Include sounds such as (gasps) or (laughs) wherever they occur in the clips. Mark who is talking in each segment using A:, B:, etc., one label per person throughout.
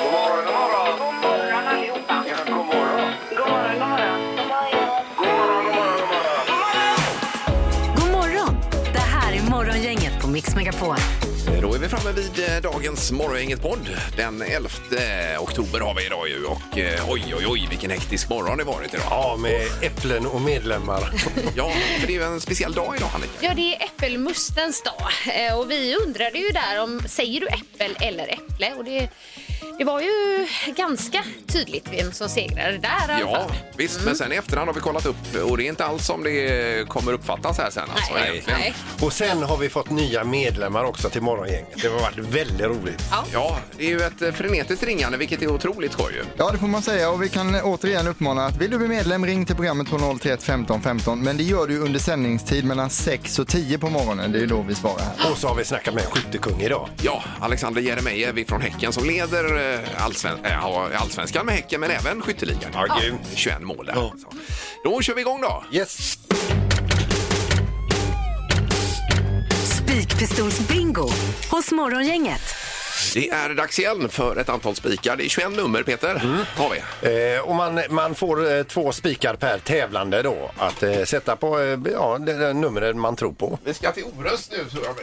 A: God morgon, god morgon. God morgon allihopa. Ja, god morgon. God morgon, god morgon.
B: God
A: God morgon, god morgon, god morgon.
B: morgon! Det här är Morgongänget på Mix Megapol.
C: Då är vi framme vid eh, dagens Morgongänget-podd. Den 11 oktober har vi idag ju och eh, oj, oj, oj vilken hektisk morgon det varit idag.
D: Ja, med äpplen och medlemmar.
C: (laughs) Ja, för det är ju en speciell dag idag Annika.
E: Ja, det är äppelmustens dag Eh, och vi undrade ju där om säger du äppel eller äpple och det, det var ju ganska tydligt vem som segrade där i alla
C: Ja,
E: fall.
C: visst, men sen i efterhand har vi kollat upp och det är inte alls som det kommer uppfattas här sen alltså.
E: nej,
C: egentligen.
E: nej.
D: Och sen har vi fått nya medlemmar också till Morgongänget. Det har varit väldigt roligt.
C: Ja, det är ju ett eh, frenetiskt ringande vilket är otroligt skoj ju.
F: Ja, det får man säga och vi kan återigen uppmana att vill du bli medlem ring till programmet på 031 15 15. Men det gör du under sändningstid mellan 6 och 10 på morgonen. Det är ju då vi svarar här.
D: Och så har vi snackat med en skyttekung idag.
C: Ja, Alexander Jeremejeff från Häcken som leder eh, allsven- eh, ja, allsvenskan med Häcken men även skytteligan.
D: Ja, grymt.
C: 21 mål där.
D: Ja.
C: alltså. Då kör vi igång då.
D: Yes!
B: Spikpistolsbingo hos Morgongänget.
C: Det är dags igen för ett antal spikar. Det är 21 nummer, Peter. Har vi.
D: Eh, och man, man får eh, två spikar per tävlande då att eh, sätta på eh, ja, det, det numret man tror på.
C: Vi ska till Orust nu, tror jag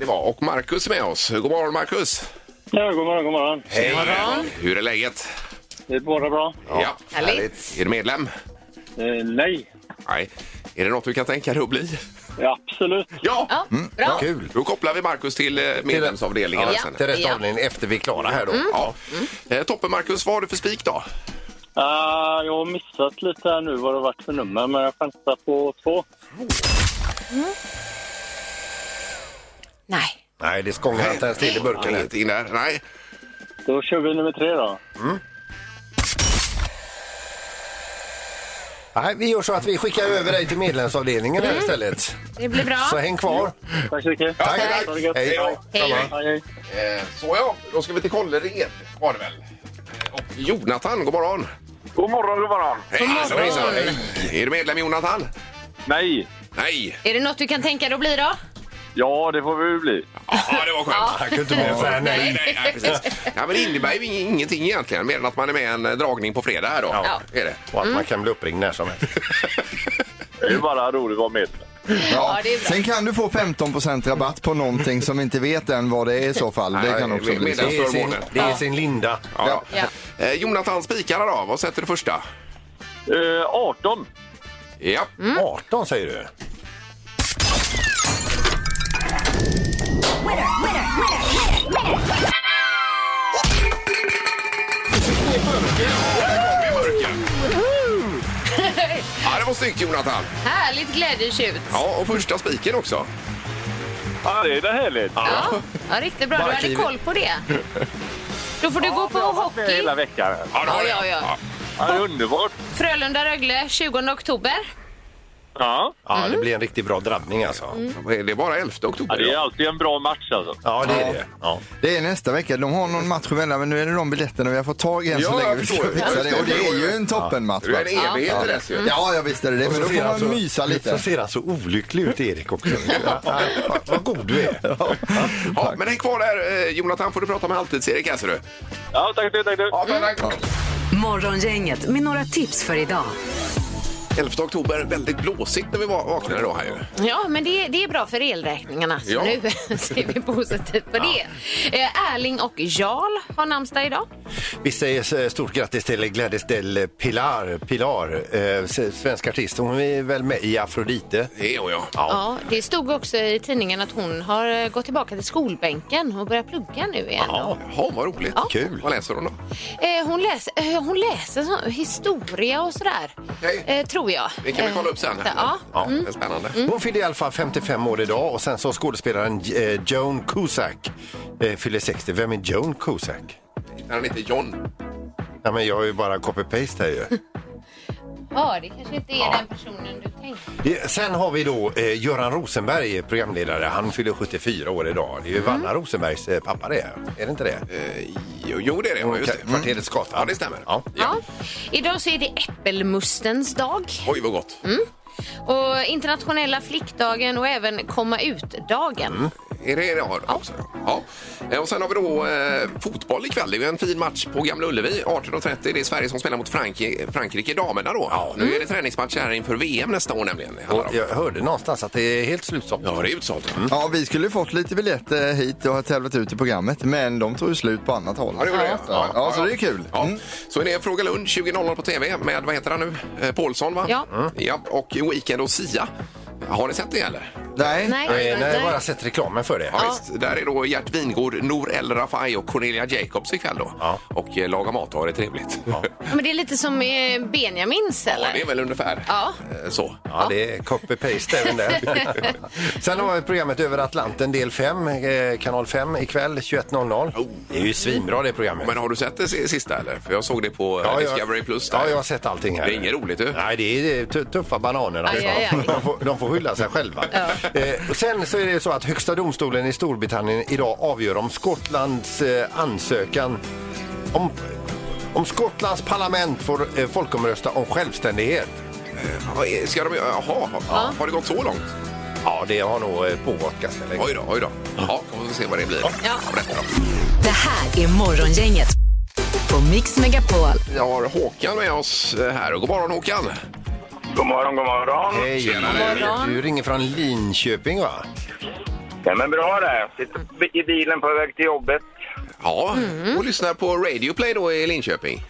C: det var. Och Markus är med oss. God morgon, Markus!
G: Ja, god morgon, god morgon.
C: Hej! Hur är läget?
G: Det är bara bra.
C: Ja,
E: Härligt.
C: Är du medlem?
G: Eh, nej,
C: Nej. Är det något du kan tänka dig att bli?
G: absolut.
C: Ja!
E: Ja, bra.
D: Kul!
C: Då kopplar vi Markus till eh, medlemsavdelningen.
D: Ja,
C: här sen.
D: Till rätt
E: Ja. Mm.
D: avdelning efter vi är klara här då.
C: Ja. Eh, Toppen, Markus. Vad har du för spik då?
G: Ah, jag har missat lite här nu vad det varit för nummer, men jag chansar på två.
E: Mm. Nej.
D: Nej, det skångar inte ens till i burken. här.
C: Inget in där. Nej.
G: Då kör vi nummer tre då.
D: Nej, vi gör så att vi skickar över dig till medlemsavdelningen
E: Mm.
D: här istället.
E: Det blir bra.
D: Så häng kvar.
G: Tack så mycket.
C: Tack.
G: Ha det gött.
D: Hej.
E: Hej.
G: Hej, hej.
C: Eh, Så ja, då ska vi till Kållered var det väl. Eh, Och Jonathan, god morgon!
G: God morgon, god morgon.
C: Hej, hejsan, hejsan. Hej. Är du medlem Jonathan?
G: Nej,
C: Nej!
E: Är det något du kan tänka dig att bli då?
G: ja det får vi ju bli.
C: Ja, det var skönt.
D: Ah, Jag kunde inte vara för nej.
C: Nej, nej, nej, precis. Ja, men det innebär ju ingenting egentligen, mer än att man är med i en eh, dragning på fredag här då.
D: Ja.
C: Är det. (laughs)
D: Och att man kan bli uppringd när som helst.
G: Det är ju bara roligt att vara med.
E: Ja, det är bra.
F: Sen kan du få 15 rabatt på någonting som vi inte vet än vad det är i så fall. Det
C: Nej,
F: kan också
C: med-
F: bli
C: med
F: så.
C: den-
D: (laughs) Det är sin, det är sin Linda.
C: Ja.
E: Ja.
C: Eh, Jonathan, spikarna då? Vad sätter du första?
G: Eh, 18.
C: Ja.
D: 18 Mm. säger du?
C: ja, det var snyggt Jonathan.
E: Härligt glädjetjut.
C: Ja, och första spiken också.
G: Ja, det är det härligt.
E: Ja. ja, riktigt bra. Du hade
D: Arkivet.
E: koll på det. Då får du gå på
G: jag har varit med
E: hockey.
G: Hela veckan.
C: Ja, det har
E: Ja,
C: det.
E: ja, ja.
G: Ja, det är underbart.
E: Frölunda-Rögle 20 oktober.
G: Ja.
D: Ja, det blir en riktigt bra drabbning alltså.
C: Ja. Det är bara 11
G: ja,
C: oktober.
G: det är alltid en bra match alltså.
D: Ja, det är det. Ja.
F: Det är nästa vecka. De har någon match emellan men nu är det de biljetterna vi har fått tag i än
C: Ja,
F: så
C: jag
F: länge. Vi ska
C: förstår.
F: fixa det. Och det är ju en toppenmatch.
C: Du är
F: va?
C: en evighet i dess ju.
F: Ja, jag visste det. Men då får man mysa
D: Så
F: lite.
D: ser han så olycklig ut, Erik, (laughs) också. Ja, vad- Vad god du är.
C: Ja, men häng kvar där. eh, Jonathan får du prata med Halvtids-Erik här ser du.
G: Ja, tack du, tack du.
C: Ja,
E: Mm.
C: men, tack.
B: Morgongänget med några tips för idag.
C: 11 oktober, väldigt blåsigt när vi va- vaknade då här ju.
E: Ja, men det, det är bra för elräkningarna. Så
C: Ja.
E: nu (laughs) ser vi positivt på det. Eh, Erling och Jarl har namnsdag idag.
D: Vi säger eh, stort grattis till Gladys del Pilar, Pilar eh, s- svensk artist. Hon är väl med i Afrodite?
C: Det är hon ja.
E: Ja, det stod också i tidningen att hon har eh, gått tillbaka till skolbänken och börjat plugga nu igen.
C: Ja, Jaha, vad roligt.
E: Ja.
D: Kul.
C: Vad läser hon då?
E: Eh, hon, läser, eh, hon läser så, historia och sådär,
C: Okej.
E: eh, tror jag.
C: Det kan vi kolla upp sen.
E: Eh, Ja. Mm.
C: Ja, det är spännande.
D: Hon fyller i alla fall 55 år idag och sen så skådespelaren eh, Joan Cusack eh, fyller 60. Vem är Joan Cusack?
C: Han heter John.
D: Ja, men jag är ju bara copy-paste här ju.
E: Jaha, det kanske inte är den personen du tänkte.
D: Det- Sen har vi då eh, Göran Rosenberg, programledare. Han fyller 74 år idag. Det är ju Vanna Rosenbergs eh, pappa det. Är det inte det?
C: Mm. Eh, jo, jo, det är det. Ja, just det. Mm.
D: Kvarterets gata.
C: Ja, det stämmer.
D: Ja.
E: Ja. Idag så är det äppelmustens dag
C: Oj, vad gott.
E: Mm. och internationella flickdagen och även komma ut-dagen.
F: Mm.
C: Är det det har också? Ja. Eh, Och sen har vi då eh, fotboll ikväll. Det är ju en fin match på Gamla Ullevi. 18.30. Det är Sverige som spelar mot Frankrike, Frankrike damerna då. Nu är det träningsmatch här inför VM nästa år nämligen. Det handlar
D: Och
C: om.
D: jag hörde någonstans att det är helt slutsålt.
C: Ja, det är utsålt.
F: Ja, vi skulle fått lite biljetter hit och ha tävlat ut i programmet, men de tog ju slut på annat håll.
C: Ja, det gjorde det.
F: Ja, ja, så det är kul. Mm.
C: Ja. Så är det Fråga Lund 20.00 på TV med, vad heter han nu? Eh, Paulsson, va?
E: Ja.
C: ja. Och Weekend och Sia. Har ni sett det eller?
F: Nej.
E: Nej,
D: Nej, nej,
E: nej.
D: jag har bara sett reklamen för det.
C: Ja, Visst, där är då Gert Wingård, Nour El Rafai och Cornelia Jacobs ikväll då.
D: Ja.
C: Och eh, laga mat och ha det trevligt. (laughs) Ja.
E: Ja, Men det är lite som eh, Benjamins eller?
C: det är väl ungefär
E: Ja.
C: eh, så.
D: Ja, det är copy-paste
C: (laughs)
D: även där. Sen har vi programmet Över Atlanten del 5, eh, kanal 5 ikväll 21.00.
C: Oh.
D: Det är ju svinbra det programmet.
C: Men har du sett det si- sista eller? För jag såg det på eh,
D: Ja, jag-
C: Discovery Plus. där.
D: Ja, jag har sett allting här.
C: Det är inget roligt du.
D: Nej, det är tu- tuffa bananer. Alltså.
E: Aj, aj, aj.
D: De, får, de får skylla sig själva. Eh, och sen så är det så att Högsta domstolen i Storbritannien idag avgör om Skottlands eh, ansökan om, om Skottlands parlament får eh, folkomrösta om självständighet.
C: Ja, eh, Ska de göra? Jaha, ja. har det gått så långt?
D: Ja, det har nog eh, pågått ganska länge.
C: Oj då, oj då. Ja, får vi se vad det blir. Ja.
B: Det här är Morgongänget på Mix Megapol.
C: Vi har Håkan med oss eh, här. God morgon Håkan!
G: God morgon, god morgon.
D: Hej!
E: morgon.
D: Du ringer från Linköping, va?
G: Ja, men bra det. Sitter i bilen på väg till jobbet.
C: Ja, och lyssnar på Radio Play då i Linköping.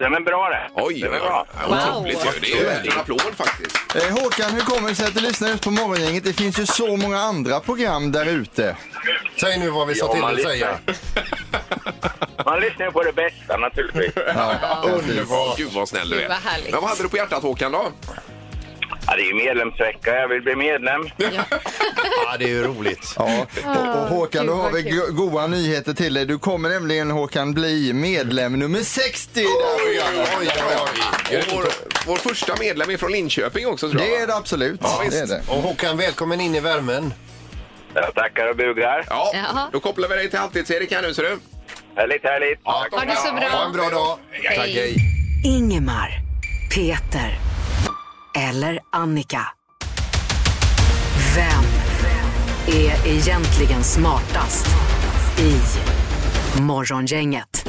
G: Ja, men bra det.
C: Oj,
G: det är
C: oj, oj.
G: bra.
E: Wow.
C: Otroligt ju. Det är ju värt en applåd faktiskt.
F: Eh, Håkan, hur kommer det sig att du lyssnar just på Morgongänget? Det finns ju så många andra program där ute.
D: Säg nu vad vi
G: Ja,
D: sa till
G: man
D: att
G: lyssnar.
D: säga.
G: Man lyssnar ju på det bästa naturligtvis.
C: (laughs)
F: Ja, precis.
C: Underbart! Gud vad snäll du
E: Gud,
C: är.
E: vad härligt.
C: Men vad hade du på hjärtat Håkan då?
G: Ja, det är ju medlemsvecka. Jag vill bli medlem.
D: Ja, det är ju roligt.
F: Ja, och, och Håkan, då
E: Ah, Gud,
F: har vi
E: vad kul.
F: go- goda nyheter till dig. Du kommer nämligen, Håkan, bli medlem nummer 60 i det här programmet.
C: Oj, Vår, vår första medlem är från Linköping också tror jag.
F: Det är det absolut.
C: Ja,
F: det är
C: visst.
F: det.
D: Och Håkan, välkommen in i värmen.
G: Jag tackar och bugar.
C: Ja,
E: Jaha.
C: då kopplar vi dig till Halvtids-Erik här nu ser du.
G: Härligt, härligt.
E: Ha det så bra.
D: Ha en bra dag.
E: Hej.
D: Tack, hej.
B: Ingemar, Peter eller Annika. Vem är egentligen smartast i Morgongänget?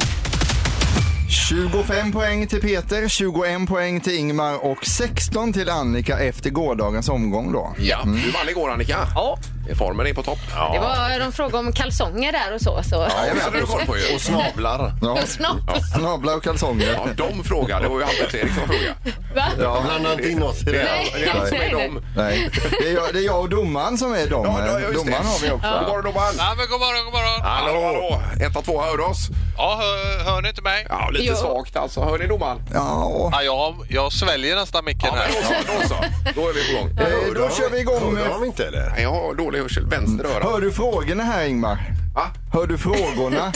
F: 25 poäng till Peter, 21 poäng till Ingmar och 16 till Annika efter gårdagens omgång då.
C: Ja, du vann igår Annika.
E: Ja.
C: Formen är på topp.
E: Det var, de frågade om kalsonger där och så. så.
C: Ja, det
E: (laughs)
C: hade du koll på ju.
D: Och snablar.
F: Ja,
E: Snart.
F: (laughs) snablar och kalsonger.
C: Ja, de frågade. Det var ju Halvtids-Erik som frågade.
D: Ja, blanda inte in oss i det här.
C: Det är han som är dem.
F: Nej, det är, jag, det är jag och domaren som är dem.
C: Ja, ja, just det.
F: domaren har vi också.
C: God morgon domaren.
A: Ja, men god morgon, god morgon.
C: Hallå, hallå. Ett av två hör du oss?
A: Ja, hör, hör ni inte mig?
C: Ja, lite
E: Jo.
C: svagt alltså. Hör ni domaren?
F: Ja, och,
A: Ja, jag, jag sväljer nästan micken
C: Ja,
A: här.
C: men då så. Då, så. då är vi på gång.
F: eh, då kör vi igång
D: Hörde
F: med...
D: de inte eller?
C: Nej, Jag har dålig hörsel. Vänster öra.
F: Hör du frågorna här Ingmar?
C: Va?
F: Hör du
C: (laughs)
F: frågorna?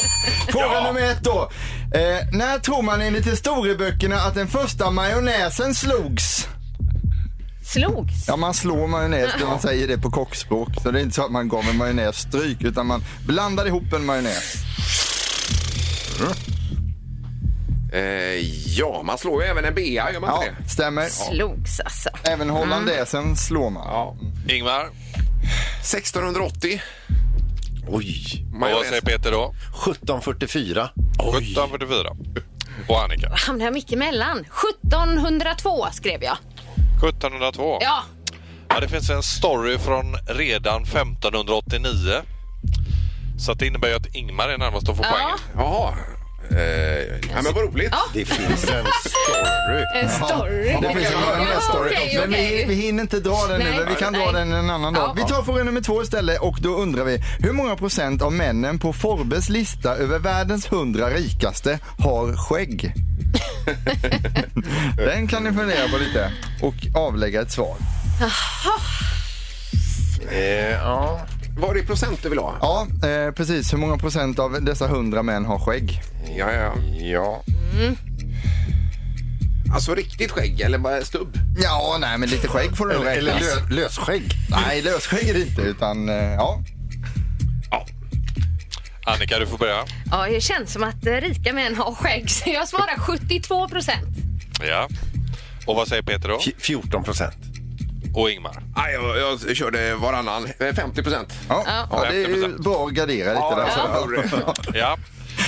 F: Fråga nummer ett då. Eh, när tror man enligt historieböckerna att den första majonnäsen slogs?
E: Slogs.
F: Ja, man slår majonnäs när man säger det på kockspråk. Så det är inte så att man gav en majonnäs stryk, utan man blandar ihop en majonnäs.
C: Eh, ja, man slår ju även en bea, gör man
F: Ja,
C: inte det?
F: stämmer.
E: Slogs alltså.
F: Även hollandäsen slår man.
C: Ja.
A: Ingmar,
C: 1680. Oj.
A: och vad säger Peter då?
D: 1744.
A: 1744. Och Annika.
E: Hamnar jag mitt emellan? 1702 skrev jag.
A: 1702.
E: Ja.
A: Ja, det finns en story från redan 1589. Så att det innebär ju att Ingmar är närmast att få
E: ja.
A: poängen.
C: Jaha. Eh, ja, men vad roligt.
D: Det finns en
C: (laughs)
D: story.
E: En story.
F: Det finns en majonnässtory.
E: Ja, okej,
F: Men vi,
E: okej.
F: vi hinner inte dra den nu,
E: Nej.
F: men vi kan dra
E: Nej.
F: den en annan dag. Vi tar fråga nummer två istället och då undrar vi hur många procent av männen på Forbes lista över världens 100 rikaste har skägg? den kan ni fundera på lite och avlägga ett svar.
D: Eh, ja.
C: Var det procent du vill ha?
F: Ja, eh, precis. Hur många procent av dessa 100 män har skägg?
C: Ja, ja.
D: ja.
C: Mm. Alltså riktigt skägg eller bara stubb?
F: Ja, nej, men lite skägg får du nog
D: Eller,
F: räknas.
D: eller lö, lösskägg.
F: Nej, lösskägg är det inte, utan eh, ja.
C: Ja.
A: Annika, du får börja.
E: Ja, det känns som att eh, rika män har skägg, så jag svarar 72
F: (laughs)
E: procent.
A: Ja. Och vad säger Peter då?
D: F- 14 procent.
A: Och Ingmar?
C: Nej, jag, jag körde varannan. Eh, 50 procent.
F: Ja,
E: Ja.
F: ja. det är ju bra att gardera lite där. Så.
A: Ja.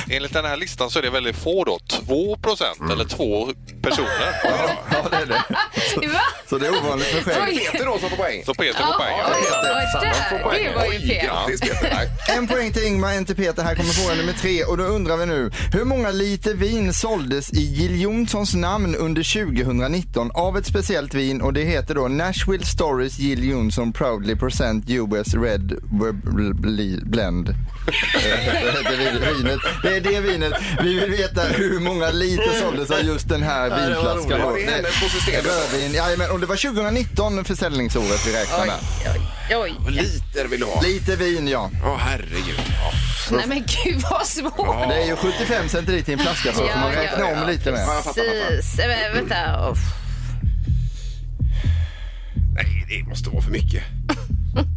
A: Enligt den här listan så är det väldigt få då. 2 procent
C: Mm.
A: eller två personer.
F: (laughs) Ja, det är det.
E: Va?
F: Så det är ovanligt med skägg.
E: Oj.
C: Peter då som får poäng.
E: (laughs)
A: Så Peter får poäng.
E: Ja, där. Det var ju
C: Oj,
E: fel.
C: grattis Peter. Nej.
F: En poäng till Ingmar, en till Peter. Här kommer fråga nummer tre. Och då undrar vi nu, hur många liter vin såldes i Jill Johnsons namn under 2019 av ett speciellt vin och det heter då Nashville Stories Jill Johnson Proudly Present US Red Web- Bl- Blend. Eh, det heter vin- vinet. Det är det vinet. Vi vill veta hur många liter såldes av just den här vinflaskan.
C: roligt. Det är hennes på systemet.
F: Rödvin. Jajamän, och det var 2019 försäljningsåret vi räknar med.
E: Oj, oj.
C: Och Liter vill du ha.
F: Lite vin, ja.
C: Åh herregud. Ja.
E: Nej men gud vad svårt.
F: Det är ju 75 centiliter i en flaska så
E: Ja,
F: får man
E: ja,
F: räkna
E: ja.
F: om lite med.
C: jag fattar, jag
E: Precis. Eh, men Vänta. Uff.
C: Nej, det måste vara för mycket.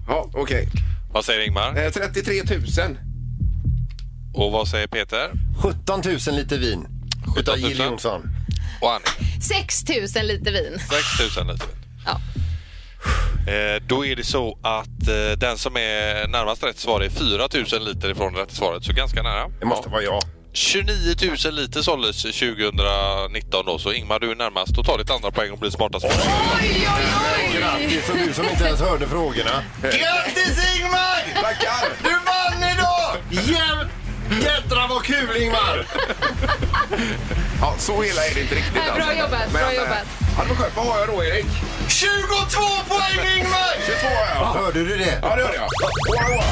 C: Ja, okej.
A: Vad säger Ingmar?
C: Eh, 33 000.
A: Och vad säger Peter?
D: 17 000 liter vin.
A: 17
D: Utav
A: 000.
D: Jill Johnson.
A: Och Annika?
E: 6 000 liter vin.
A: 6 000 liter.
E: Ja.
A: Eh, Då är det så att eh, den som är närmast rätt svar är 4 000 liter ifrån rätt svaret, så ganska nära.
D: Det måste vara jag.
A: 29 000 liter såldes 2019 då, så Ingmar du är närmast. Då ta ditt andra poäng och bli smartast.
E: Oj, oj, oj.
D: Grattis och du som inte ens hörde frågorna. Grattis Ingmar!
C: Tackar!
D: Du vann idag! Jäm... Jädrar vad kul Ingmar!
C: Ja, så illa är det inte riktigt.
E: Nej, bra jobbat, bra
C: eh,
E: jobbat.
C: Ja, det var skönt. Vad har jag då, Erik?
D: 22 poäng Ingmar!
C: 22 har jag.
D: Hörde du det?
C: Ja, det hörde jag. Wow, wow.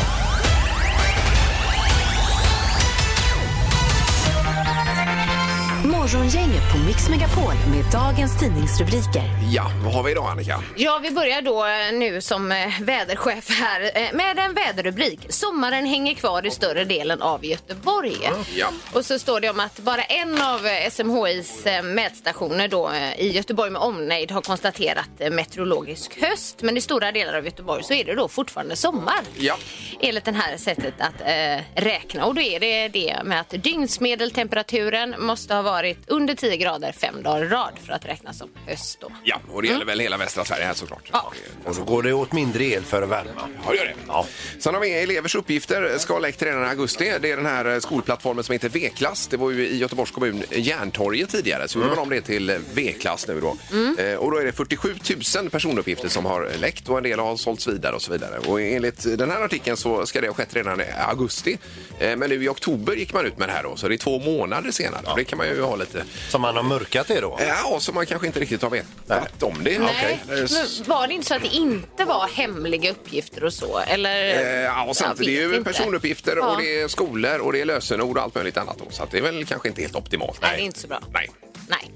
B: Morgongänget på Mix Megapol med dagens tidningsrubriker.
C: Ja, vad har vi idag, Annika?
E: Ja, vi börjar då eh, nu som eh, väderchef här eh, med en väderrubrik. Sommaren hänger kvar i större delen av Göteborg.
C: Ja.
E: Och så står det om att bara en av eh, SMHIs eh, mätstationer då eh, i Göteborg med omnejd har konstaterat eh, meteorologisk höst. Men i stora delar av Göteborg så är det då fortfarande sommar.
C: Ja.
E: Enligt det här sättet att eh, räkna. Och då är det det med att dygnsmedeltemperaturen måste ha varit under 10 grader fem dagar i rad för att räknas som höst då.
C: Ja, och det gäller väl hela västra Sverige här såklart.
E: Ja.
D: Och då går det åt mindre el för att värma.
C: Ja, det gör det. Ja. Sen har vi elevers uppgifter. Ska ha läckt redan i augusti. Det är den här eh, skolplattformen som heter V-klass. Det var ju i Göteborgs kommun Järntorget tidigare. Så gjorde man om det till eh, V-klass nu då.
E: Mm.
C: Eh, Och då är det 47 000 personuppgifter som har eh, läckt och en del har sålts vidare och så vidare. Och enligt eh, den här artikeln så ska det ha skett redan i augusti. Eh, Men nu i oktober gick man ut med det här då. Så det är två månader senare. Och Det kan man ju ha lite...
D: Som man har mörkat det då.
C: Ja, som man kanske inte riktigt har vetat om det.
E: Nej,
C: Okej. Eh,
E: men var det inte så att det inte var hemliga uppgifter och så? Eller?
C: Eh, Ja, och
E: Jag
C: sant,
E: vet
C: det är ju
E: inte.
C: personuppgifter
E: Ja.
C: och det är skolor och det är lösenord och allt möjligt annat. Då, så att det är väl kanske inte helt optimalt.
E: Nej, det är inte så bra.
C: Nej.
E: Nej.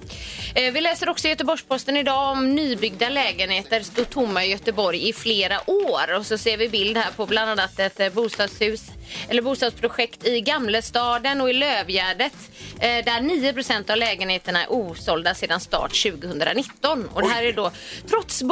E: Eh, Vi läser också i Göteborgs-Posten idag om nybyggda lägenheter stod tomma i Göteborg i flera år. Och så ser vi bild här på bland annat ett eh, bostadshus eller bostadsprojekt i Gamlestaden och i Lövgärdet eh, där 9 av lägenheterna är osålda sedan start 2019. Och det här är då trots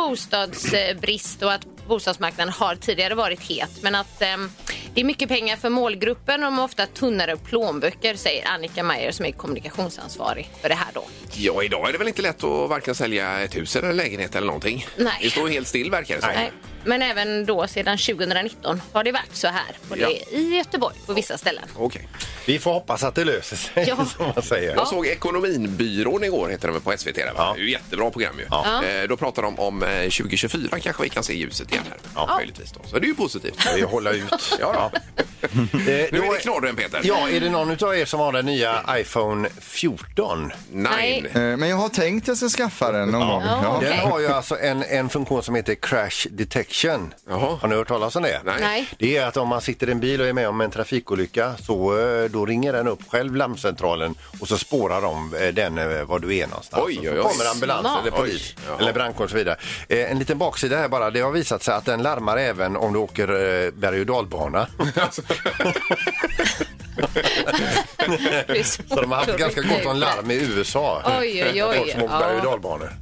E: bostadsbrist och att bostadsmarknaden har tidigare varit het. Men att ehm, det är mycket pengar för målgruppen och de har ofta tunnare plånböcker säger Annika Meyer som är kommunikationsansvarig för det här då.
C: Ja, idag är det väl inte lätt att varken sälja ett hus eller en lägenhet eller någonting.
E: Nej.
C: Det står helt still verkar det som.
E: Nej. Men även då sedan 2019 har det varit så här och det
C: Ja.
E: är i Göteborg på vissa ställen.
C: Okej.
D: Vi får hoppas att det löser sig
E: Ja.
D: (laughs) som man säger.
C: Jag såg Ekonominbyrån igår, heter den väl, på SVT. Där, va?
D: Ja.
C: Det är ju jättebra program ju.
D: Ja.
C: Eh, då pratar de om eh, 2024 kanske vi kan se ljuset igen här. Ja. Möjligtvis då. Så det är ju positivt.
D: Vi håller ut.
C: Ja, då.
D: Eh,
C: Nu
D: då
C: är det knorren Peter.
D: Ja, är det någon utav er som har den nya iPhone 14?
C: Nej.
E: Nej.
F: Eh, Men jag har tänkt att jag ska skaffa den någon gång.
E: Ja.
F: Ja.
D: Den
E: Okej.
D: har ju alltså en, en funktion som heter crash detection.
C: Jaha.
D: Har ni hört talas om det?
C: Nej.
E: Nej.
D: Det är att om man sitter i en bil och är med om en trafikolycka så eh, då ringer den upp själv larmcentralen och så spårar de eh, den eh, var du är någonstans.
C: Oj,
D: Och
C: oj,
D: så
C: oj.
D: kommer ambulans
E: Smart.
D: eller polis
C: Oj, jaha.
D: eller brandkår och så vidare. Eh, En liten baksida här bara. Det har visat
C: (laughs)
D: sig att den larmar även om du åker eh, berg och dalbana. (laughs) Så de har haft ganska gott om larm i USA.
E: Oj, oj, oj.
D: Folk som åker
E: Ja.
D: berg och dalbanor.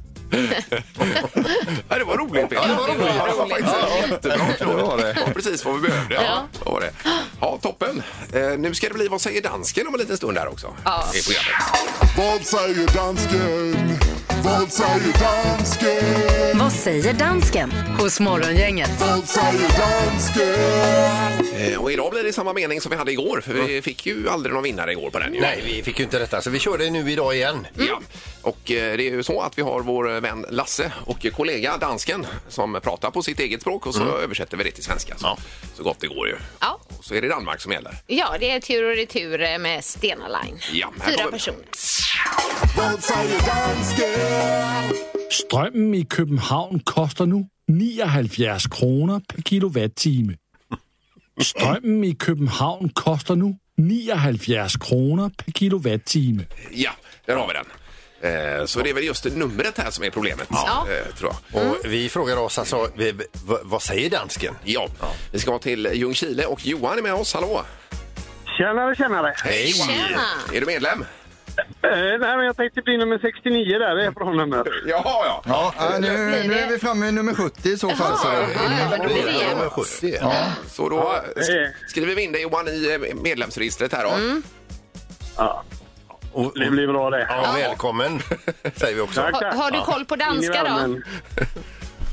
C: Ja, det var roligt Peter.
D: det var roligt.
C: Det var faktiskt jättebra
D: Det var det.
C: Det var precis vad vi behövde. Ja.
E: Ja.
C: det var det. ja, toppen. Eh, nu ska det bli Vad säger dansken om en liten stund här också.
E: Ja.
C: I programmet.
H: Vad säger dansken? Vad säger dansken?
B: Vad säger dansken hos Morgongänget?
H: Vad säger dansken?
C: Eh, Och idag blir det samma mening som vi hade igår, för vi fick ju aldrig någon vinnare igår på den. Ju.
D: Nej, vi fick ju inte detta, så vi körde nu idag igen.
C: Ja. Och eh, det är ju så att vi har vår vän Lasse och kollega dansken som pratar på sitt eget språk och så översätter vi det till svenska. Så, så gott det går ju.
E: Ja.
C: Och så är det Danmark som gäller.
E: ja, det är tur och retur eh, med Stena Line.
C: Ja, här
E: Fyra
C: kommer-
E: personer.
H: Vad säger dansken?
I: Strømmen i København koster nu 79 kroner per kilowattime. Strømmen i København koster nu 79 kroner per kilowattime.
C: Ja, där har vi den. Eh, Så det är väl just det numret här som är problemet.
E: Ja.
C: eh, Tror jag.
D: Och vi frågar oss alltså, vi, v, vad säger dansken?
C: Ja, vi ska till Ljungskile och Johan är med oss. Hallå!
G: Tjenare, tjenare!
C: Hej!
E: Tjena.
C: Är du medlem?
G: Eh, nej, men jag tänkte bli nummer 69 där. Det är bra nummer.
C: (laughs) Jaha, ja.
F: Ja, äh, nu, nu är vi framme vid nummer 70 i så fall. Så.
E: Jaha, ja, men då blir det
D: Nummer 70. Ja.
C: Så då eh, sk- skriver vi in dig Johan i eh, medlemsregistret här då.
G: Ja,
D: Och, och,
G: det blir bra det.
D: ja, välkommen, säger vi också.
G: Tack.
E: Har, har du koll på danska då?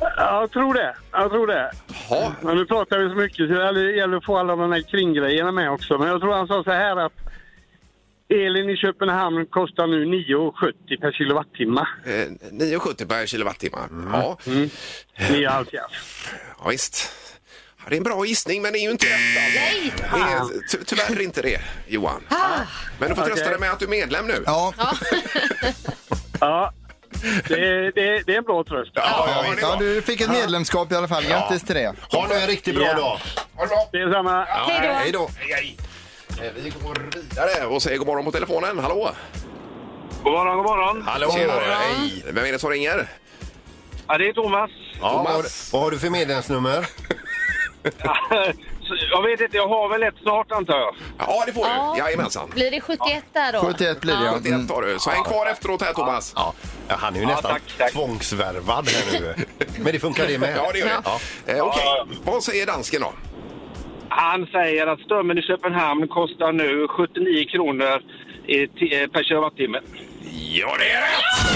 G: Ja, jag tror det. Jag tror det.
C: Ja.
G: Men nu pratar vi så mycket så det gäller att få alla de här kringgrejerna med också. Men jag tror han sa så här att elen i Köpenhamn kostar nu 9,70 per
C: (laughs)
G: kilowattimme.
C: Eh, 9,70 per kilowattimme. Ja.
G: 9,5.
C: ja, visst. Ja, det är en bra gissning, men det är ju inte rätt. alltså.
E: Nej! Ah.
C: Det är ty- tyvärr inte det, Johan. Men du får trösta
G: Okej.
C: dig med att du är medlem nu.
F: Ja,
G: Ja, det, det, det är en bra tröst.
C: ja, ja, det är
F: ja,
C: bra.
F: du fick ett medlemskap i alla fall. Grattis till det.
D: Ha nu en riktigt bra
G: Ja.
D: dag.
C: Ha det bra.
G: Det är samma.
E: Hej då.
D: Hej då.
C: Hej, hej. Eh, Vi går vidare och säger god morgon på telefonen. Hallå!
G: God morgon, god morgon.
C: Hallå! Hej! Vem är det som ringer?
G: Ja, det är Thomas.
D: Ja, vad,
C: Thomas.
D: vad har du för medlemsnummer?
G: Jag vet inte, jag har väl ett snart antar jag.
C: Ja, det får du.
E: Ja.
C: Jajamensan.
E: Blir det 71 där då?
F: 71 blir det ja.
C: Det tar du. Så häng kvar efteråt här, Thomas.
D: Ja. Ja, han är ju nästan
G: tack, tack.
D: tvångsvärvad här nu. Men det funkar det med.
C: Ja, det gör det.
D: Ja.
C: Eh, Okej,
G: Ja.
C: vad säger dansken då?
G: Han säger att strömmen i Köpenhamn kostar nu 79 kronor i ti- eh, per kilowattimme.
C: Ja, det är rätt!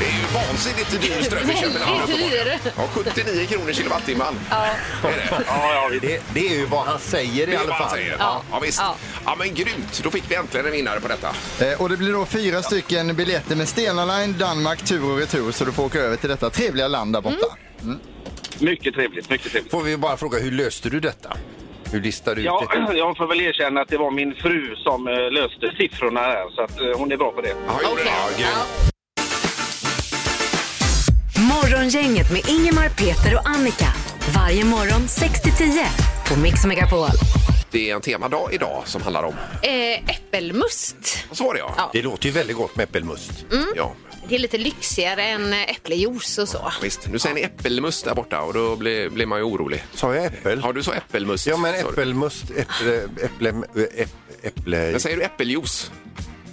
C: Det är ju vansinnigt
E: (laughs)
C: dyr ström i Köpenhamn.
E: Väldigt dyr.
C: Ja, 79 kronor kilowattimman.
E: Ja.
C: Det är det.
G: Ja, ja, visst.
D: Det, det är ju vad han säger
C: Det
D: i
C: är
D: alla
C: vad han
D: fall.
C: säger. Ja,
E: Ja.
C: visst.
E: Ja.
C: Ja, men grymt. Då fick vi äntligen en vinnare på detta.
F: Eh, Och det blir då fyra stycken biljetter med Stena Line, Danmark, tur och retur. Så du får åka över till detta trevliga land där borta.
G: Mycket trevligt, mycket trevligt.
D: Får vi bara fråga, hur löste du detta? Hur listade du
G: Ja, (clears throat)
D: ut det?
G: jag får väl erkänna att det var min fru som eh, löste siffrorna där, så att eh, hon är bra på det.
C: Ja, gjorde det. Ja, grymt.
B: Morgongänget med Ingemar, Peter och Annika. Varje morgon 6 till 10 på Mix Megapol.
C: Det är en temadag idag som handlar om...
E: Eh, äppelmust.
C: Vad sa det, ja?
D: Det låter ju väldigt gott med äppelmust.
E: Mm.
C: ja.
E: Det är lite lyxigare än eh, äppeljuice och så.
C: Visst. Nu säger ni äppelmust där borta och då blir, blir man ju orolig.
D: Sa jag äppel?
C: Ja, du sa äppelmust.
D: Ja, men
C: sa du.
D: äppelmust, äpple, äpple, äpple, äpple,
C: Men säger du äppeljuice?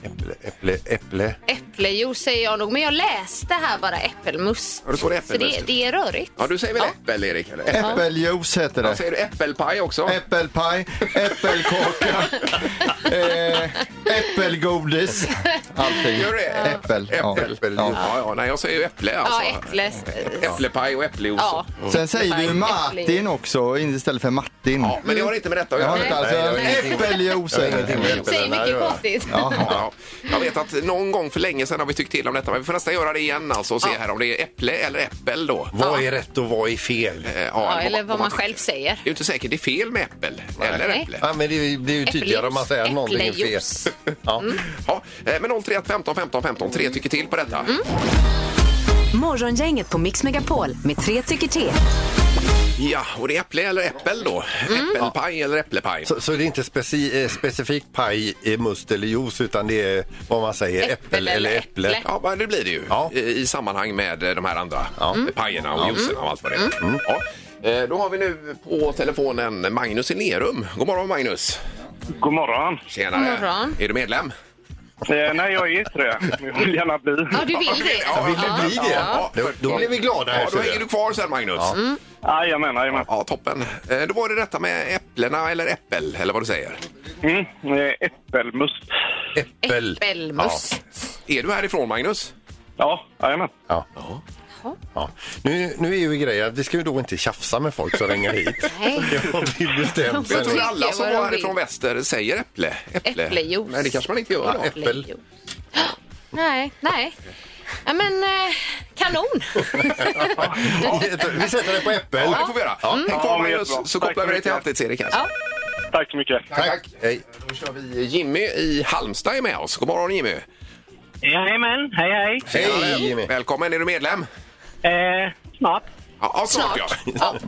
D: äpple, äpple, äpple.
E: Äppeljuice säger jag nog, men jag läste här bara äppelmust.
C: Ja, det står det
E: Så
C: äppelmust.
E: det, det är rörigt.
C: Ja, du säger väl äppel, Erik? Eller?
E: Mm.
F: Äppeljuice heter
C: Ja,
F: det.
C: säger du äppelpaj också?
F: Äppelpaj, äppelkaka,
C: (laughs)
F: eh, äppelgodis. Allting.
C: Gör det?
F: Äppel. ja.
C: Äppel.
F: Ja.
C: Ja, ja, nej, jag säger ju äpple alltså.
E: Ja, äpple.
C: Äpplepaj och äpplejuice.
E: Ja.
F: Sen säger vi ju Martin
E: Äppeljuice.
F: också istället för Martin.
C: Ja, men det har inte med detta att
F: Jag
C: göra.
F: har inte alls.
D: Nej,
F: alltså Äppeljuice är
D: Ingenting med
F: ingenting.
D: äpplen
E: Säger
D: här,
E: mycket
D: va?
E: konstigt.
C: Ja, jag vet att någon gång för länge sedan har vi tyckt till om detta, men vi får nästan göra det igen alltså och se här om det är äpple eller äppel då.
D: Vad är rätt och vad är fel?
C: Eh,
E: Ja, eller
C: om
E: vad man
C: tycker.
E: själv säger.
C: Det är ju inte säkert det är fel med äppel eller
E: Nej.
C: äpple.
D: Ja, men det är ju- det är ju tydligare om man säger att någonting är fel.
E: Äppeljuice. Mm.
D: Ja.
C: Ja, eh, men 031 15 15 15, tre tycker till på detta.
E: Mm.
B: Morgongänget på Mix Megapol med tre tycker till.
C: Ja, och det är äpple eller äppel då?
E: Mm.
C: Äppelpaj eller äpplepaj?
D: Så, så det är inte speci eh, specifikt paj, eh, must eller juice utan det är vad man säger, äppel, eller äpple.
C: Ja, men det blir det ju
D: Ja.
C: I, i sammanhang med eh, de här andra eh, pajerna och juicerna och allt vad det
D: Mm.
C: är. Ja. Eh, Då har vi nu på telefonen Magnus i Lerum. God morgon Magnus! God
G: God morgon.
C: Tjenare.
G: God morgon.
C: Är du medlem?
G: Eh, nej, jag är inte det. Men Jag vill gärna bli.
E: Ja, du vill det?
C: Ja, vill
E: Ja.
C: du bli det?
E: Ja.
C: Då,
D: då blir vi glada här,
C: Ja, Eh, då
D: ser du.
C: hänger du kvar sen, Magnus.
D: Ja. Mm.
G: Jajamän, jajamän.
C: Ja, toppen. Eh, Då var det detta med äpplena eller äppel, eller vad du säger.
G: Mm, eh, äppelmust.
C: Äppel.
E: Äppelmust.
C: Ja. Är du härifrån, Magnus?
G: Ja, jajamän.
D: Ja. Ja. Nu, nu är ju grejen att vi ska ju då inte tjafsa med folk som ringer hit.
E: Nej.
D: Det har vi bestämt.
C: Jag tror
E: tycker
C: alla som
E: vad de
C: var härifrån
E: vill.
C: väster säger äpple.
E: Äpplejuice.
C: Nej, det kanske man inte gör. då.
D: Ja, äppel.
E: (gasps) Nej, nej. Ja, men eh, kanon.
D: Vi sätter det på äppel.
C: Ja, det får vi göra. Häng
G: Ja,
C: kvar,
G: men
C: Magnus,
G: jättebra.
C: så
G: Tack
C: kopplar
G: så
C: vi dig
G: mycket.
C: till Halvtids-Erik. här.
E: Ja.
G: Tack så mycket.
D: Tack. Hej.
C: Då kör vi Jimmy i Halmstad är med oss. God morgon, Jimmy.
J: Jajamän, hej hej.
C: Tjenare.
D: Jimmy.
C: Välkommen, är du medlem?
J: Eh, snart.
C: Ja, ja snart, ja. (laughs)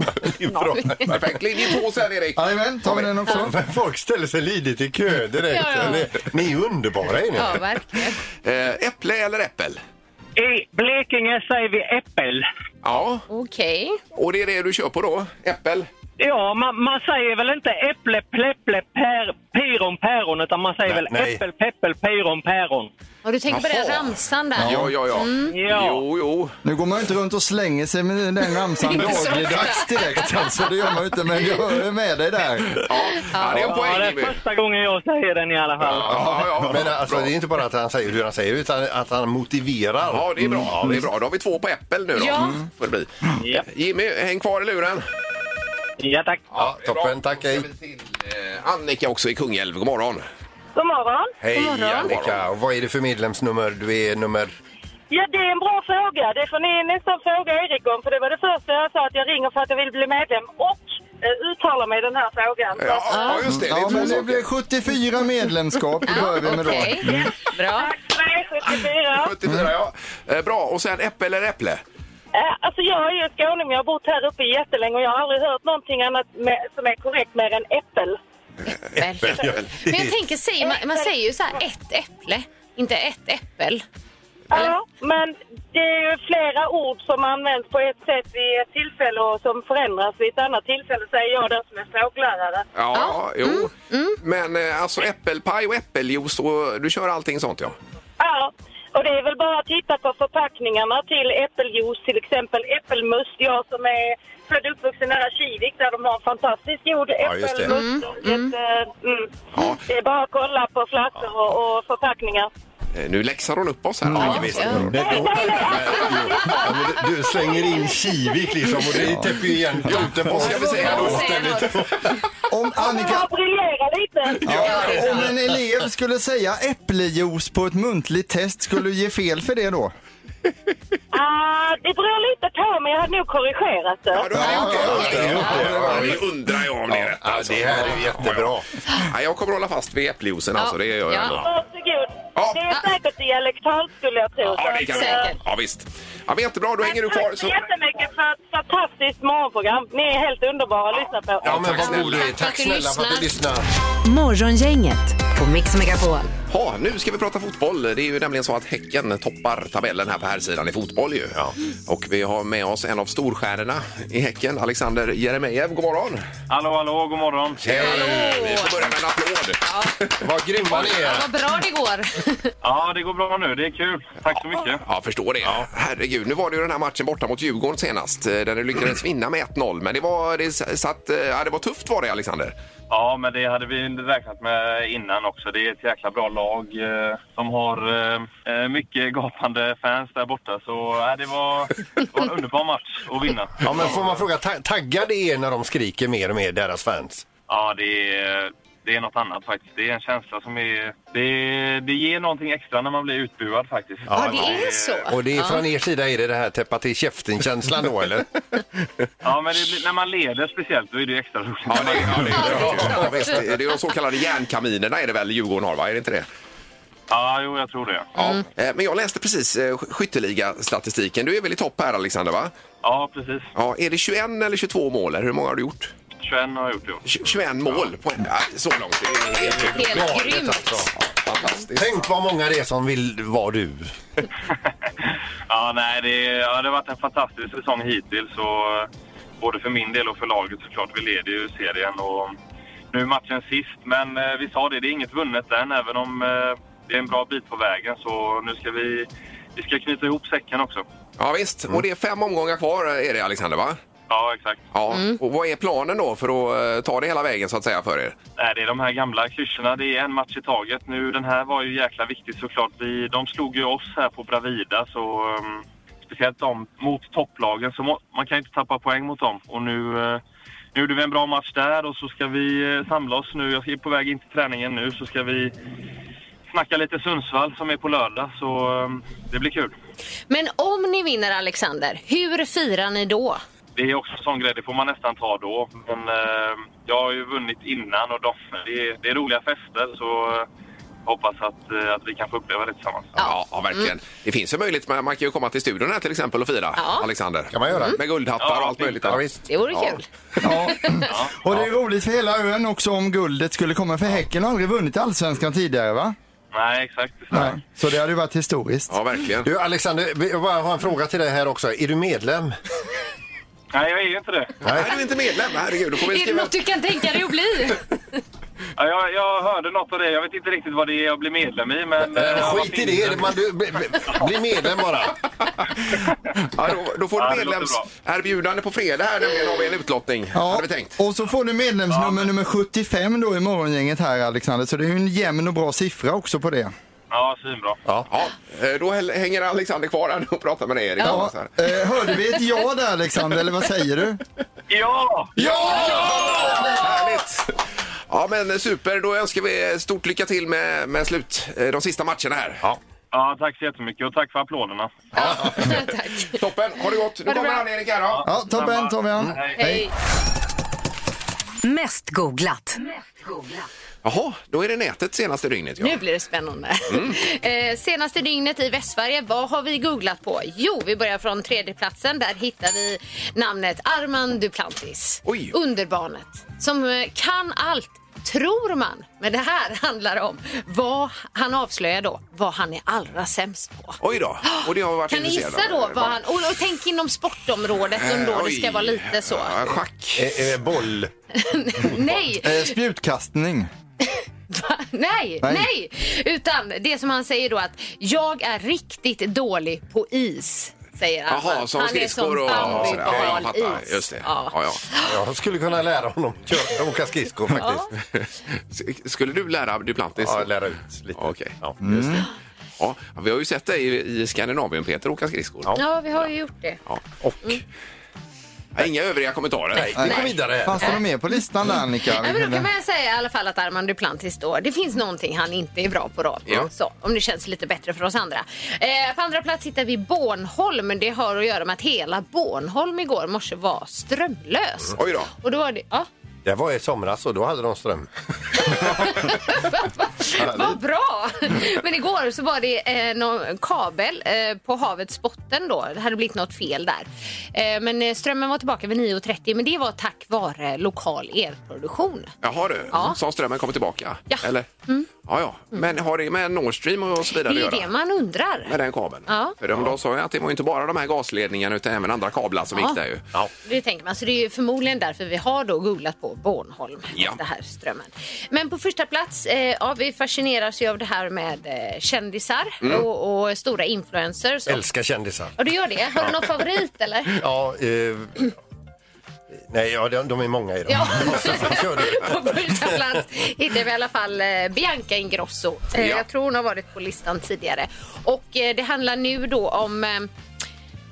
D: Bra.
C: Perfekt. Linje 2 sen, Erik.
F: Jajamän, tar vi den också?
D: Men folk ställer sig lidigt i kö direkt.
E: Ja, ja.
D: Ni- Ni är ju underbara är ni.
E: Ja, verkligen.
C: Eh, Äpple eller äppel?
J: I Blekinge säger vi äppel.
C: Ja,
E: Okej.
C: och det är det du kör på då? Äppel?
J: Ja, man, man säger väl inte äpple, pläpple, per, piron, päron, utan man säger
D: Nej,
J: väl
D: nej.
J: äppel, peppel, piron, päron.
E: Har du tänkt på den
C: Jaha.
E: ramsan där?
C: Ja, ja, ja.
D: Mm.
J: Ja.
C: Jo, jo.
F: Nu går man ju inte runt och slänger sig med den ramsan
E: (laughs) Inte så ofta.
F: dagligdags direkt. Alltså, det gör man ju inte, men jag är med dig där.
C: Ja, ja det är en
J: Ja,
C: poäng,
J: det är
C: Jimmy.
J: första gången jag säger den i alla fall.
C: Ja, ja,
D: (laughs) Men
C: bra,
D: alltså,
C: bra.
D: det är inte bara att han säger hur han säger utan att han motiverar.
C: Ja, det är bra. Ja, det är bra. Då har vi två på äppel nu då.
E: Ja.
C: Mm, Får det bli.
J: Ja.
C: Jimmy, häng kvar i luren.
J: Ja, tack.
D: Ja, toppen, tack hej.
C: Då ska vi till, eh, Annika också i Kungälv, god morgon.
J: God morgon.
D: Hej Annika, och vad är det för medlemsnummer? Du är nummer...
J: Ja, det är en bra fråga. Det får ni nästan fråga Erik om, för det var det första jag sa att jag ringer för att jag vill bli medlem och eh, uttala mig i den här frågan.
C: Ja, ja just det. Det
F: Ja,
C: är två
F: men det
C: saker.
F: blir 74 medlemskap, det Mm. börjar vi med då.
E: Okej, bra.
J: Tack för det, 74.
C: 74, ja. Eh, Bra, och sen äpple eller äpple?
J: Eh, Alltså jag är ju skåning, jag har bott här uppe jättelänge och jag har aldrig hört någonting annat med, som är korrekt mer än äppel.
E: Äppel. Men jag tänker, säger man, man säger ju så här ett äpple, inte ett äppel.
J: Ja, men det är ju flera ord som används på ett sätt vid ett tillfälle och som förändras vid ett annat tillfälle, säger jag då som är språklärare.
C: Ja, jo.
J: Mm.
C: Men eh, alltså äppelpaj och äppeljuice och du kör allting sånt ja?
J: Ja, och det är väl bara att titta på förpackningarna till äppeljuice, till exempel äppelmust. Jag som är född och uppvuxen nära Kivik där de har en fantastiskt god
D: just det.
J: äppelmust. Jätte- mm. Det är bara att kolla på flaskor och, och förpackningar.
C: Eh, Nu läxar hon upp oss här.
D: Mm. Ja, visst. Nej,
F: Mm.
D: då- Ja, men du- Du slänger in Kivik liksom och det täpper ju igen kluten på
C: Vad ska vi säga då?
E: Säger något.
F: Om Annika...
J: Jag briljerar lite.
F: Ja, om en elev skulle säga äpplejuice på ett muntligt test, skulle du ge fel för det då?
J: Ah, det beror lite på, men jag hade nog korrigerat det.
C: Ja, du har gjort det.
D: det, jag har gjort det.
C: Ja, det undrar jag om det är rätt.
D: Ja,
C: alltså.
D: det här är ju jättebra.
C: Ja, jag kommer hålla fast vid äppeljuicen alltså, det gör jag
E: Ja.
C: ändå.
J: Varsågod.
C: Ja.
J: Det är säkert dialektalt skulle jag tro.
C: Ja, det kan vi.
E: Säkert.
C: Ja, visst. Ja, men jättebra, då hänger du kvar.
J: Tack så jättemycket för ett fantastiskt morgonprogram. Ni är helt underbara att lyssna på.
D: Ja, men
C: tack
D: vad god du är.
E: Tack för att
D: Tack
E: du
D: snälla för att du lyssnar.
B: Morgongänget på Mix Megapol.
C: Ja, nu ska vi prata fotboll. Det är ju nämligen så att Häcken toppar tabellen här på här sidan i fotboll ju. Och vi har med oss en av storstjärnorna i Häcken, Alexander Jeremejeff. God morgon!
G: Hallå, hallå, god morgon.
C: Hej! Vi får börja med en applåd.
D: Vad grymma ni är.
E: Vad bra det går.
G: Ja, det går bra nu. Det är kul. Tack så mycket.
C: Ja, förstår det. Herregud, nu var det ju den här matchen borta mot Djurgården senast eh, där du lyckades vinna med 1-0. Men det var, det satt, eh, ja, det var tufft var det, Alexander.
G: Ja, men det hade vi räknat med innan också. Det är ett jäkla bra lag eh, som har eh, mycket gapande fans där borta. Så eh, det, var, det var en underbar match att vinna.
D: Ja, men får man fråga, ta- taggar det er när de skriker mer och mer, deras fans?
G: Ja, det är, det är något annat faktiskt. Det är en känsla som är... Det, det ger någonting extra när man blir utbuad faktiskt.
E: Ja, det är så.
D: Och det är, från er sida är det det här täppa till käften-känslan då, eller?
G: Ja, men det blir, när man leder speciellt, då är det ju extra roligt.
C: Ja, det, ja, det, ja, visst. Det är de så kallade järnkaminerna är det väl Djurgården har, va? Är det inte det?
G: Ja, jo, jag tror det.
C: Ja. Eh, Men jag läste precis eh, sk- skytteliga-statistiken. Du är väl i topp här, Alexander? va?
G: Ja, precis.
C: Ja, är det 21 eller 22 mål? Eller hur många har du gjort?
G: 21 har jag gjort i år.
C: Tj- 21 mål på en, ja, så långt. Det är helt grymt.
E: Helt grymt.
C: Fantastiskt.
D: Tänk vad många det är som vill vara du.
G: Ja, nej, det, ja, det har varit en fantastisk säsong hittills. Och, eh, både för min del och för laget såklart. Vi leder ju serien och Nu är matchen sist, men eh, vi sa det, det är inget vunnet än, även om eh, det är en bra bit på vägen. Så nu ska vi, vi ska knyta ihop säcken också.
C: Ja visst, och det är fem omgångar kvar eh, är det Alexander va?
G: Ja, exakt.
C: Ja, och vad är planen då för att eh, ta det hela vägen så att säga för er?
G: Nej, det är de här gamla klyschorna. Det är en match i taget. Nu, den här var ju jäkla viktig såklart. Vi, de slog ju oss här på Bravida, så ehm, speciellt de mot topplagen. Så må, man kan ju inte tappa poäng mot dem. Och nu, eh, nu gjorde vi en bra match där och så ska vi eh, samla oss nu. Jag är på väg in till träningen nu, så ska vi snacka lite Sundsvall som är på lördag. Så ehm, det blir kul.
E: Men om ni vinner Alexander, hur firar ni då?
G: Det är också en sån grej, det får man nästan ta då. Men eh, jag har ju vunnit innan och de, det, är, det är roliga fester så eh, hoppas att, eh, att vi kan få uppleva det tillsammans.
C: Ja, ja verkligen.
E: Mm.
C: Det finns ju möjlighet, man man kan ju komma till studion här till exempel och fira
G: Ja.
C: Alexander.
G: Kan man göra. Mm.
C: Med guldhappar
G: Ja,
C: och allt möjligt.
G: ja,
F: visst.
E: Det vore
C: Ja.
E: kul.
F: Och det är roligt för hela ön också om guldet skulle komma, för Häcken har aldrig vunnit allsvenskan tidigare va?
G: Nej, exakt.
F: Nej. Så det hade ju varit historiskt.
C: Ja, verkligen.
D: Du Alexander, vi- jag bara har en fråga till dig här också. Är du medlem?
G: Nej, jag är ju inte det.
C: Nej, du är inte medlem. Herregud, då får vi
E: Är det
C: skriva...
E: något du kan tänka dig att bli?
G: (laughs) Ja, jag, jag hörde något av det, jag vet inte riktigt vad det är jag blir medlem i men...
D: Eh,
G: eh,
D: skit i det, man, du, bli, bli medlem bara.
C: Ja, då, då får
D: Ja,
C: du
D: det låter bra.
C: medlemserbjudande på fredag här nämligen har vi en utlottning. Hade vi tänkt.
F: och så får du medlemsnummer nummer 75 då i morgongänget här Alexander, så det är ju en jämn och bra siffra också på det.
G: Ja, svinbra.
C: Ja. eh, Då häl- hänger Alexander kvar här nu och pratar med dig Erik.
F: Ja. Eh, hörde vi ett ja där Alexander, eller vad säger du?
G: Ja!
C: Ja! Härligt! Ja men super, då önskar vi stort lycka till med, med slut, eh, de sista matcherna här. Ja.
G: Ja, tack så jättemycket och tack för applåderna.
C: Toppen, ha det gott! Nu kommer han Erik här då.
F: Ja, toppen, toppen.
E: Hej.
B: Mest googlat.
C: Jaha, då är det nätet senaste dygnet. Ja.
E: Nu blir det spännande.
C: Mm.
E: (laughs) Eh, senaste dygnet i Västsverige, vad har vi googlat på? Jo, vi börjar från tredjeplatsen. Där hittar vi namnet Armand Duplantis.
C: Oj.
E: Underbarnet. Som eh, kan allt, tror man. Men det här (laughs) handlar om vad han avslöjar då, vad han är allra sämst på.
C: Oj då, och det har vi varit
E: Kan ni gissa
C: intresserade
E: då
C: av. Eh,
E: vad han... Och, och tänk inom sportområdet om då det ska vara lite så.
C: Ja,
E: Eh,
C: schack.
D: boll.
E: Nej,
F: Eh, spjutkastning.
E: Nej, nej,
F: Nej.
E: Utan det som han säger då att jag är riktigt dålig på is. Säger han.
C: Jaha, som
E: han är
C: skridskor och...
E: som
C: ja,
E: Bambi på
C: jag
E: hal
C: fattar.
E: is.
C: Just det.
E: Ja.
C: Ja, (laughs) ja.
D: Jag skulle kunna lära honom att köra- åka skridskor faktiskt.
C: Skulle du lära Duplantis?
D: Ja, lära ut lite.
C: Okej, just det. Ja, vi har ju sett dig i- i Skandinavien, Peter, åka skridskor.
E: Ja, vi har ju gjort det.
C: Ja, Och?
E: Mm.
C: Ja, Inga övriga kommentarer.
D: Nej, vi går vidare.
F: Fanns det något mer på listan där Annika?
E: Nej, men då kan man säga i alla fall att Armand Duplantis då, det finns någonting han inte är bra på då.
F: Ja.
E: Så, om det känns lite bättre för oss andra. Eh, på andra plats hittar vi Bornholm. Det har att göra med att hela Bornholm igår morse var strömlöst.
D: Oj då.
E: Och då var det, ja,
D: Det var i somras och då hade de ström.
E: Vad bra! Men igår så var det eh, någon kabel eh, på havets botten då. Det hade blivit något fel där. Eh, men eh, strömmen var tillbaka vid 9.30 men det var tack vare lokal elproduktion.
C: Jaha du,
E: Ja.
C: som strömmen kommer tillbaka?
E: Ja. Mm.
C: Eller? Ja, ja. Men har det med Nord Stream och så
E: Det
C: vidare
E: är
C: att
E: ju
C: göra?
E: det man undrar.
C: Med den kabeln?
E: Ja.
C: För de de sa ju att det var inte bara de här gasledningarna utan även andra kablar som
E: Ja.
C: gick där ju.
E: Det tänker man. Så det är ju förmodligen därför vi har då googlat på Bornholm.
C: Ja.
E: Det här strömmen. Men på första plats, eh, ja, vi fascineras ju av det här med eh, kändisar
D: Mm.
E: och, och stora influencers. Och,
D: Älskar kändisar.
E: och du gör det? Har du någon favorit eller?
D: Ja, eh, nej, ja, de, de är många idag. (laughs)
E: Ja.
D: Kör du.
E: på första plats hittar vi i alla fall eh, Bianca Ingrosso. Eh,
D: Ja.
E: Jag tror hon har varit på listan tidigare. Och eh, det handlar nu då om eh,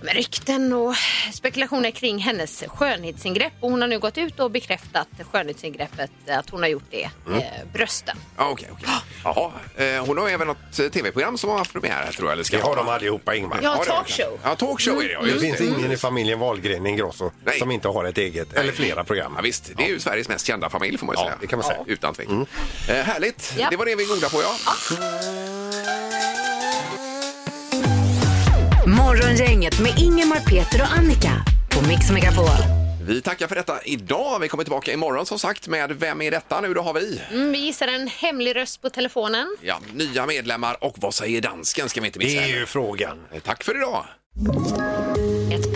E: om rykten och spekulationer kring hennes skönhetsingrepp. Och hon har nu gått ut och bekräftat skönhetsingreppet, eh, att hon har gjort det,
C: Mm.
E: eh, brösten.
C: Ja, okej, okej. Ja, eh, hon har även något eh, tv-program som har haft premiär här, tror jag. Eller ska
D: Det har de allihopa, Ingmar.
E: Ja, talkshow.
C: Ja, talkshow är det, ja.
D: Det
C: just
D: finns
C: det.
D: ingen i familjen Wahlgren Ingrosso som inte har ett eget, eller flera program.
C: Ja, visst, det är ju Sveriges mest kända familj får man ju säga. det kan man säga. Utan tvekan.
D: Mm.
C: Eh, härligt,
D: Ja.
C: det var det vi goda på ja.
B: Morgongänget med Ingemar, Peter och Annika på Mix Megapol.
C: Vi tackar för detta idag. Vi kommer tillbaka imorgon som sagt med Vem är detta nu? Då har vi
E: Mm, vi gissar en hemlig röst på telefonen.
C: ja, nya medlemmar och vad säger dansken ska vi inte missa.
D: Det är ju frågan.
C: Tack för idag.
B: Ett